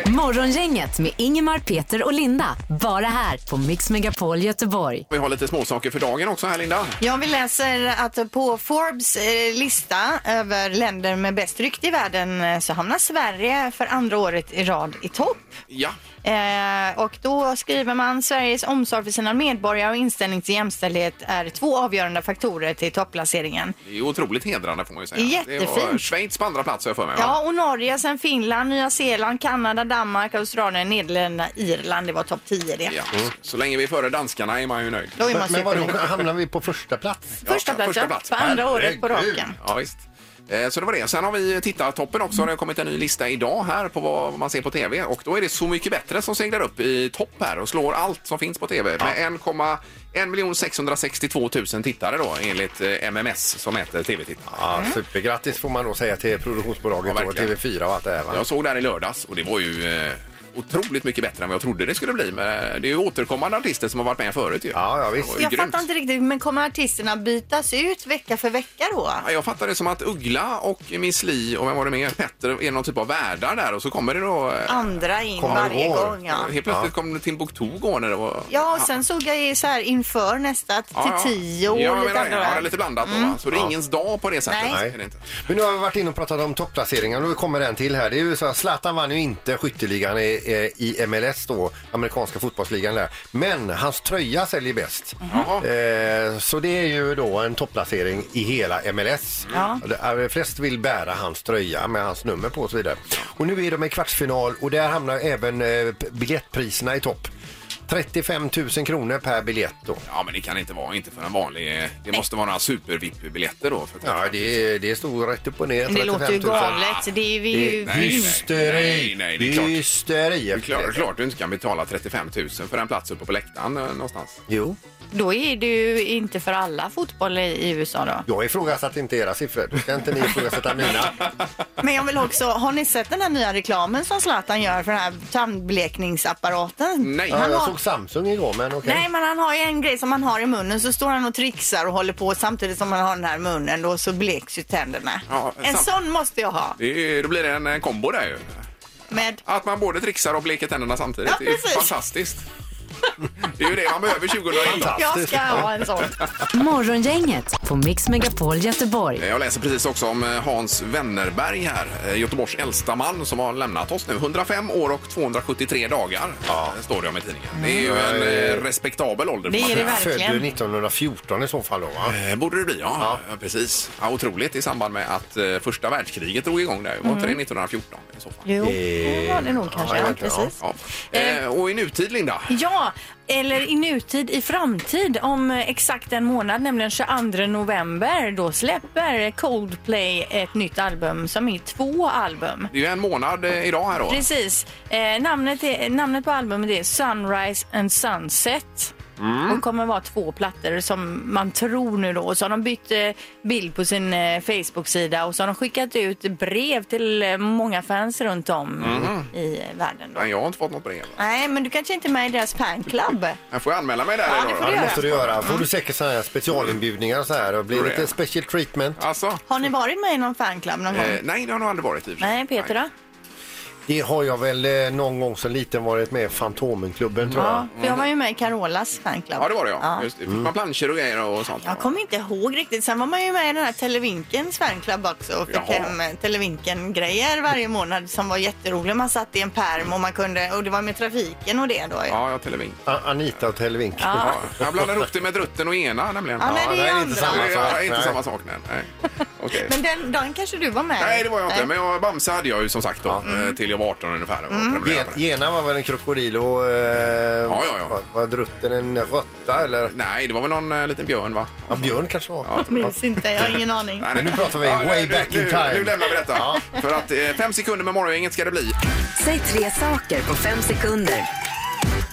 S4: Morgongänget med Ingemar, Peter och Linda. Bara här på Mix Megapol Göteborg.
S1: Vi har lite småsaker för dagen också här Linda.
S3: Ja, vi läser att på Forbes eh, lista över länder med bäst rykte i världen eh, så hamnar Sverige för andra året i rad i topp.
S1: Ja.
S3: Eh, och då skriver man Sveriges omsorg för sina medborgare och inställning till jämställdhet är två avgörande faktorer till topplaceringen.
S1: Det är ju otroligt hedrande får man ju säga. Det var
S3: Jättefint.
S1: Schweiz på andra plats har jag för mig. va?
S3: Ja, och Norge, sen Finland, Nya Zeeland, Kanada, Danmark, Australien, Nederländerna, Irland. Det var topp 10 det.
S1: Ja, så- Så länge vi är före danskarna är man ju nöjd.
S3: Då är man
S2: Men vadå, hamnar vi på första plats?
S1: Ja,
S3: Första plats, ja. På andra året på
S1: Herregud.
S3: raken.
S1: Ja, visst. Eh, Så det var det. Sen har vi tittartoppen också. Det har kommit en ny lista idag här på vad man ser på tv. Och då är det Så mycket bättre som seglar upp i topp här och slår allt som finns på tv. Med 1,1 662 000 tittare då enligt eh, MMS som mäter tv-tittare.
S2: Ja, supergrattis får man då säga till produktionsbolaget
S1: Ja,
S2: och
S1: verkligen.
S2: TV4 och allt det här. Va?
S1: Jag såg det här i lördags och det var ju eh, otroligt mycket bättre än vad jag trodde det skulle bli. Men eh, det är ju återkommande artister som har varit med förut ju. Ja, ja visst.
S3: Jag fattar inte riktigt, men kommer artisterna bytas ut vecka för vecka då?
S1: Ja, Jag fattar det som att Uggla och Miss Li och vem var det mer? Petter är någon typ av värdar där och så kommer det då... eh,
S3: Andra in
S1: kommer
S3: varje
S1: igår.
S3: gång. Ja.
S1: Helt plötsligt kom det Timbuktu igår när det var...
S3: Ja, och sen såg jag ju så här inför nästa till
S1: Ja, ja.
S3: tio Mm.
S1: Ja,
S3: år.
S1: jag menar,
S3: andra
S1: ja,
S3: där.
S1: det är lite blandat då, va? Så det är ingens dag på det sättet.
S3: Nej.
S1: Är det inte.
S2: Men nu har vi varit inne och pratat om topplaceringar och nu kommer en till här. Det är ju så att Zlatan vann ju inte skytteligan i, i MLS då, amerikanska fotbollsligan där. Men hans tröja säljer bäst. Eh, så det är ju då en topplacering i hela MLS.
S13: Ja.
S2: Det är- Flest vill bära hans tröja med hans nummer på och så vidare. Och nu är de i kvartsfinal och där hamnar även eh, p- biljettpriserna i topp. 35 000 kronor per biljett då.
S1: Ja, men det kan inte vara, inte för en vanlig... eh, Det måste vara några super-VIP-biljetter då. För
S2: Ja, det, det stod rätt upp och ner.
S3: Men det låter ju
S2: 35 000.
S3: galet. Det är vi ju...
S1: Nej, nej,
S2: Hysteri.
S1: Nej, nej, det är klart.
S2: Hysteri.
S1: Det är klart, klart du inte kan betala 35 000 för en plats uppe på läktaren eh, någonstans.
S2: Jo.
S3: Då är det ju inte för alla fotboll i, i USA då.
S2: Jag ifrågasatte inte era siffror. Då ska inte ni ifrågasätta mina.
S3: Men jag vill också, har ni sett den här nya reklamen som Zlatan gör för den här tandblekningsapparaten?
S2: Nej.
S3: Han
S2: Ja, jag
S3: har-
S2: såg Samsung igår, men okej.
S3: Nej, men han har ju en grej som han har i munnen så står han och trixar och håller på samtidigt som han har den här i munnen då så bleks ju tänderna.
S1: Ja,
S3: en
S1: samt-
S3: sån måste jag ha.
S1: Det är, då blir det en eh, kombo där ju.
S3: Med...
S1: Att man både trixar och bleker tänderna samtidigt.
S3: Ja,
S1: det är ju
S3: precis.
S1: fantastiskt. Det är ju det man behöver 2011.
S3: Jag ska ha en sån.
S4: Morgongänget på Mix Megapol Göteborg.
S1: Jag läser precis också om eh, Hans Wennerberg här, eh, Göteborgs äldsta man som har lämnat oss nu. 105 år och 273 dagar eh, står det om i tidningen. Det är ju en eh, respektabel ålder. får man säga.
S2: Född 1914 i så fall då, va?
S1: Eh, Borde det bli, ja. ja. Precis. Ja, otroligt i samband med att eh, första världskriget drog igång där. Var inte det
S3: Mm.
S1: 1914? I så fall.
S3: Jo,
S2: Eh,
S3: det var det nog kanske, ja, precis.
S1: Ja. Eh, Och i nutid, Linda?
S3: Ja, eller i nutid i framtid om eh, exakt en månad, nämligen 22 november, då släpper Coldplay ett nytt album som är två album.
S1: Det är ju en månad eh, idag här då.
S3: Precis. Eh, namnet, är, namnet på albumet är Sunrise and Sunset.
S1: Mm.
S3: Och kommer vara två plattor som man tror nu då. Och så har de bytt eh, bild på sin eh, Facebook-sida och så har de skickat ut brev till eh, många fans runt om
S1: Mhm.
S3: i eh, världen. Då.
S1: Nej, jag har inte fått något brev.
S3: Nej, men du kanske inte är med i deras fanclub?
S1: Jag får jag anmäla mig där
S3: Ja,
S1: idag
S3: det
S1: då? Alltså,
S3: får du
S2: Det måste du göra. får du säkert såna här specialinbjudningar och så här. Och blir
S1: Tror
S2: lite
S1: det.
S2: special treatment.
S1: Alltså?
S3: Har ni varit med i någon fanclub någon gång?
S1: Eh, nej, det har jag nog aldrig varit i och för sig.
S3: Nej, Peter då?
S2: Det har jag väl eh, någon gång som liten varit med i Fantomenklubben tror jag.
S3: Ja, för jag var ju med i Carolas fanclub.
S1: Mm. Ja, det var det ja. Just det. Fick
S2: Mm.
S1: man planscher och grejer och sånt?
S3: Jag kommer inte ihåg riktigt. Sen var man ju med i den här Televinkens fanclub också och fick
S1: Jaha.
S3: hem eh, Televinken-grejer varje månad som var jätterolig. Man satt i en pärm och man kunde, och det var med trafiken och det då. Ja.
S1: Ja, ja, Televink.
S2: Anita och Televink.
S3: Ja.
S1: Jag blandar ihop det med Drutten och Ena nämligen.
S3: Ja, nej, det är Ja, det är inte andra. samma sak.
S1: Det är inte
S3: Nej.
S1: samma sak. Nej. Nej. Okej.
S3: Men den dagen kanske du var med?
S1: Nej, det var jag inte. Men jag, Bamse hade jag ju som sagt då, eh, till jag var 18 ungefär. och
S2: Mm.
S1: prenumererade på
S2: Gen- Gena var väl en krokodil och... Eh, Var, var drutten en råtta eller?
S1: Nej, det var väl någon eh, liten björn va?
S2: Ja, björn kanske var.
S3: Jag minns inte, jag har ingen aning.
S1: Nej,
S2: Men nu pratar vi
S1: Ja,
S2: way
S1: nu-
S2: back in
S1: nu-
S2: time.
S1: Nu lämnar vi detta. För att eh, fem sekunder med morgongänget ska det bli.
S4: Säg tre saker på fem sekunder.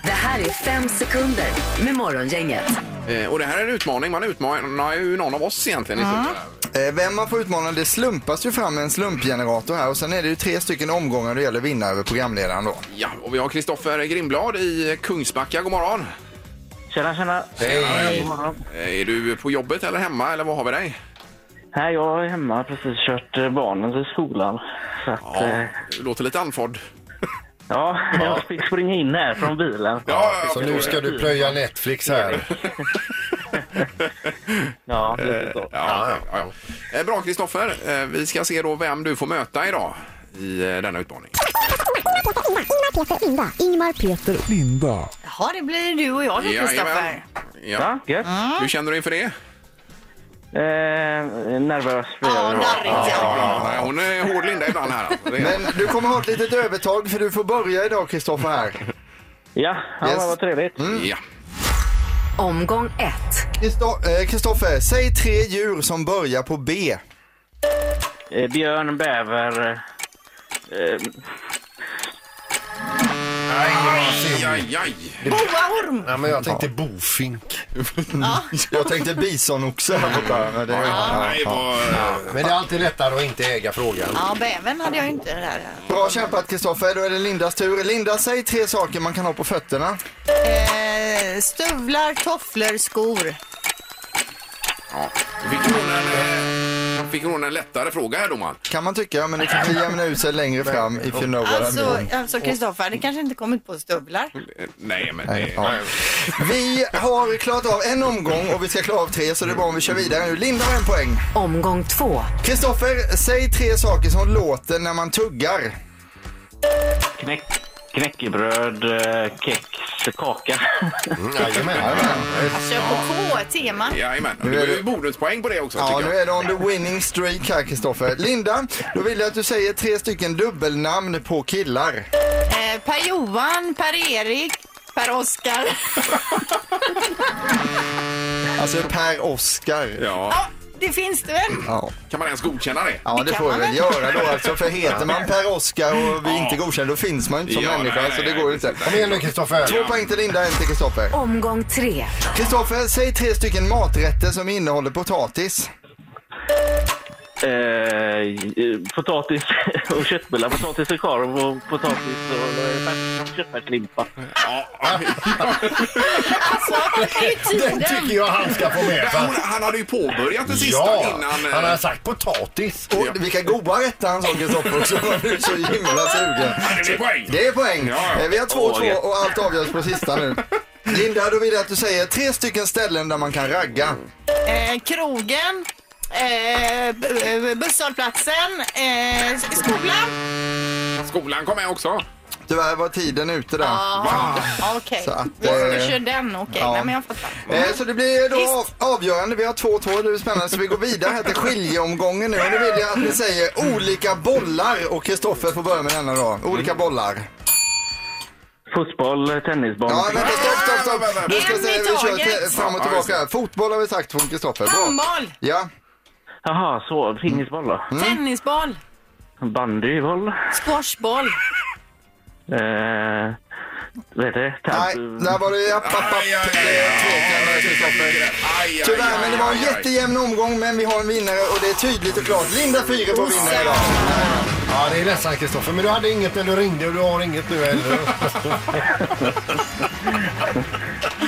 S4: Det här är fem sekunder med Morgongänget.
S1: Eh, Och det här är en utmaning. Man utmanar ju någon av oss egentligen. i stort sett.
S11: Eh, Vem man får utmana, det slumpas ju fram en slumpgenerator här och sen är det ju tre stycken omgångar och det gäller att vinna över programledaren då.
S1: Ja, och vi har Kristoffer Grindblad i Kungsbacka. God morgon! Tjena, tjena!
S11: Hej.
S1: God morgon. Eh, Är du på jobbet eller hemma eller vad har vi dig?
S14: Nej, jag är hemma precis kört eh, barnen till skolan. Så att,
S1: Ja,
S14: eh,
S1: du låter lite andfådd.
S14: ja, jag fick springa in här från bilen.
S2: Så nu ska du plöja Netflix här.
S14: Ja,
S1: lite så. Eh, Ja, ja, ja. Eh, Bra Kristoffer, Eh, vi ska se då vem du får möta idag i eh, denna utmaning.
S15: Ingmar, Peter, Linda.
S3: Jaha, det blir du och jag då,
S1: Jajamän.
S3: Kristoffer.
S1: Ja. Hur känner du inför det?
S14: Eh, nervös blir jag.
S1: Ja, ja, nej, hon är hård Linda ibland här. alltså. Det är-
S11: Men du kommer ha ett litet övertag för du får börja idag Kristoffer här.
S14: Ja, ja men vad trevligt.
S11: Mm.
S1: Ja.
S11: Omgång 1. eh, Kristoffer, säg tre djur som börjar på B.
S14: Eh, björn, bäver... Eh,
S1: Aj, aj, aj.
S3: Boaorm!
S2: Nej, men jag tänkte bofink.
S11: Jag tänkte bisonoxe här borta. men det-
S2: nej, Men det är alltid lättare att inte äga frågan.
S3: Ja, bävern hade jag ju inte där.
S11: Bra kämpat Kristoffer, då är det Lindas tur. Linda, säg tre saker man kan ha på fötterna.
S3: Eh, stövlar, tofflor, skor.
S1: Ja. Då Fick hon, en, eh, fick hon en lättare fråga här domaren?
S11: Kan man tycka, men det kanske jämnar ut sig längre fram if you know what I
S3: Alltså,
S11: mean.
S3: alltså Kristoffer, det kanske inte kommit på stövlar.
S1: Nej, men det...
S11: ja. Vi har klarat av en omgång och vi ska klara av tre så det är bra om vi kör vidare nu. Linda har en poäng. Omgång två. Kristoffer, säg tre saker som låter när man tuggar.
S14: knäck, knäckebröd, eh, kex, kaka.
S2: Jajamän.
S3: Kör på K-tema.
S1: Jajamän, och det blir ju bonuspoäng på det också.
S11: Ja,
S1: tycker
S11: nu
S1: jag.
S11: är det on the winning streak här Kristoffer. Linda, då vill jag att du säger tre stycken dubbelnamn på killar.
S3: Eh, Per-Johan, Per-Erik, Per-Oskar.
S11: Alltså Per-Oskar.
S1: Ja.
S3: Det finns det väl?
S1: Kan man ens godkänna det?
S11: Ja, det,
S3: kan
S11: får vi
S3: man
S11: väl
S3: väl.
S11: göra då. Alltså, för heter man Per-Oskar och vi inte godkänner, då finns man ju inte som
S2: Ja, nej,
S11: människa.
S2: nej,
S11: så det
S2: nej,
S11: går ju inte.
S2: precis. Kom igen nu, Kristoffer.
S11: Två
S2: Ja.
S11: poäng till Linda, en till Kristoffer.
S4: Omgång tre.
S11: Kristoffer, säg tre stycken maträtter som innehåller potatis.
S14: Eh, potatis och köttbullar, potatis och korv och potatis och eh, färs- köttfärslimpa.
S2: Den tycker jag han ska få med.
S1: Han, han hade ju påbörjat den sista
S2: ja,
S1: innan... eh,
S2: han har sagt potatis.
S11: Och vilka goda rätter han sa Kristoffer också. Han är så himla sugen.
S1: Det är poäng.
S11: Det är poäng.
S1: Ja, ja.
S11: Eh, Vi har två
S1: Åh,
S11: två
S1: det-
S11: och allt avgörs på sista nu. Linda, då vill jag att du säger tre stycken ställen där man kan ragga.
S3: Eh, krogen, eh, b- b- busshållplatsen, eh, s- skolan.
S1: Skolan kom med också.
S11: Tyvärr var tiden ute där.
S3: Ja, okej.
S11: Så att,
S3: Just
S11: eh,
S3: Du kör den, okej.
S11: ja.
S3: Nej, men jag fattar.
S11: Eh, Så det blir då av, avgörande. Vi har två två, det blir spännande. Så vi går vidare här till skiljeomgången nu. Och nu vill jag att ni säger olika bollar. Och Kristoffer får börja med denna då. Olika bollar.
S14: Fotboll, tennisboll.
S11: Ja, vänta, stopp, stopp, stopp. Du ska
S3: En
S11: säga
S3: i
S11: vi kör
S3: taget.
S11: till, fram och
S14: Ja, just
S11: tillbaka. här. Fotboll har vi sagt från Kristoffer. Bra.
S3: Handboll,
S11: Ja.
S14: Jaha, så. Pingisboll då?
S11: Mm.
S3: tennisboll,
S14: Bandyboll?
S3: squashboll.
S14: Eh, vad heter det?
S11: Nej, där var det app, app, app. Det är tvekan där, Kristoffer. Tyvärr, men det var en jättejämn omgång. Men vi har en vinnare och det är tydligt och klart. Linda Fyrebo vinner idag.
S2: Ja, det är ledsamt Kristoffer, men du hade inget när du ringde och du har inget nu heller.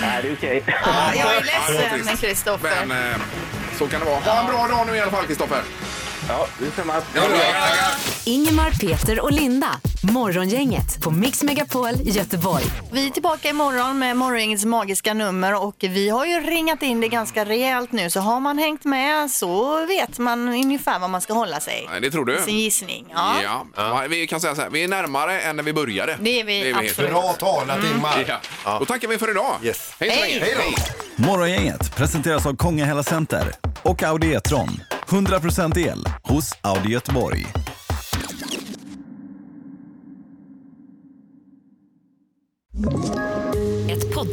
S14: Nej, det är okej.
S3: Ja, jag är
S1: Ja, det var trist.
S3: ledsen, Kristoffer.
S1: Men eh, så kan det vara. Ha en bra dag nu i alla fall, Kristoffer.
S16: Ja, det ser man.
S4: Ingemar, Peter och Linda. Morgongänget på Mix Megapol Göteborg.
S3: Vi är tillbaka imorgon med morgongängets magiska nummer och vi har ju ringat in det ganska rejält nu så har man hängt med så vet man ungefär vad man ska hålla sig.
S1: Nej, Det tror du?
S3: Sin gissning. Ja.
S1: Ja. vi kan säga så här, vi är närmare än när vi började.
S3: Det är vi absolut.
S2: Bra talat, Ingmar.
S1: Ja. Då tackar vi för idag. Hej så länge.
S2: Hej då.
S8: Morgongänget presenteras av Kongahälla Center och Audi E-tron. 100% el hos Audi Göteborg.
S17: Ett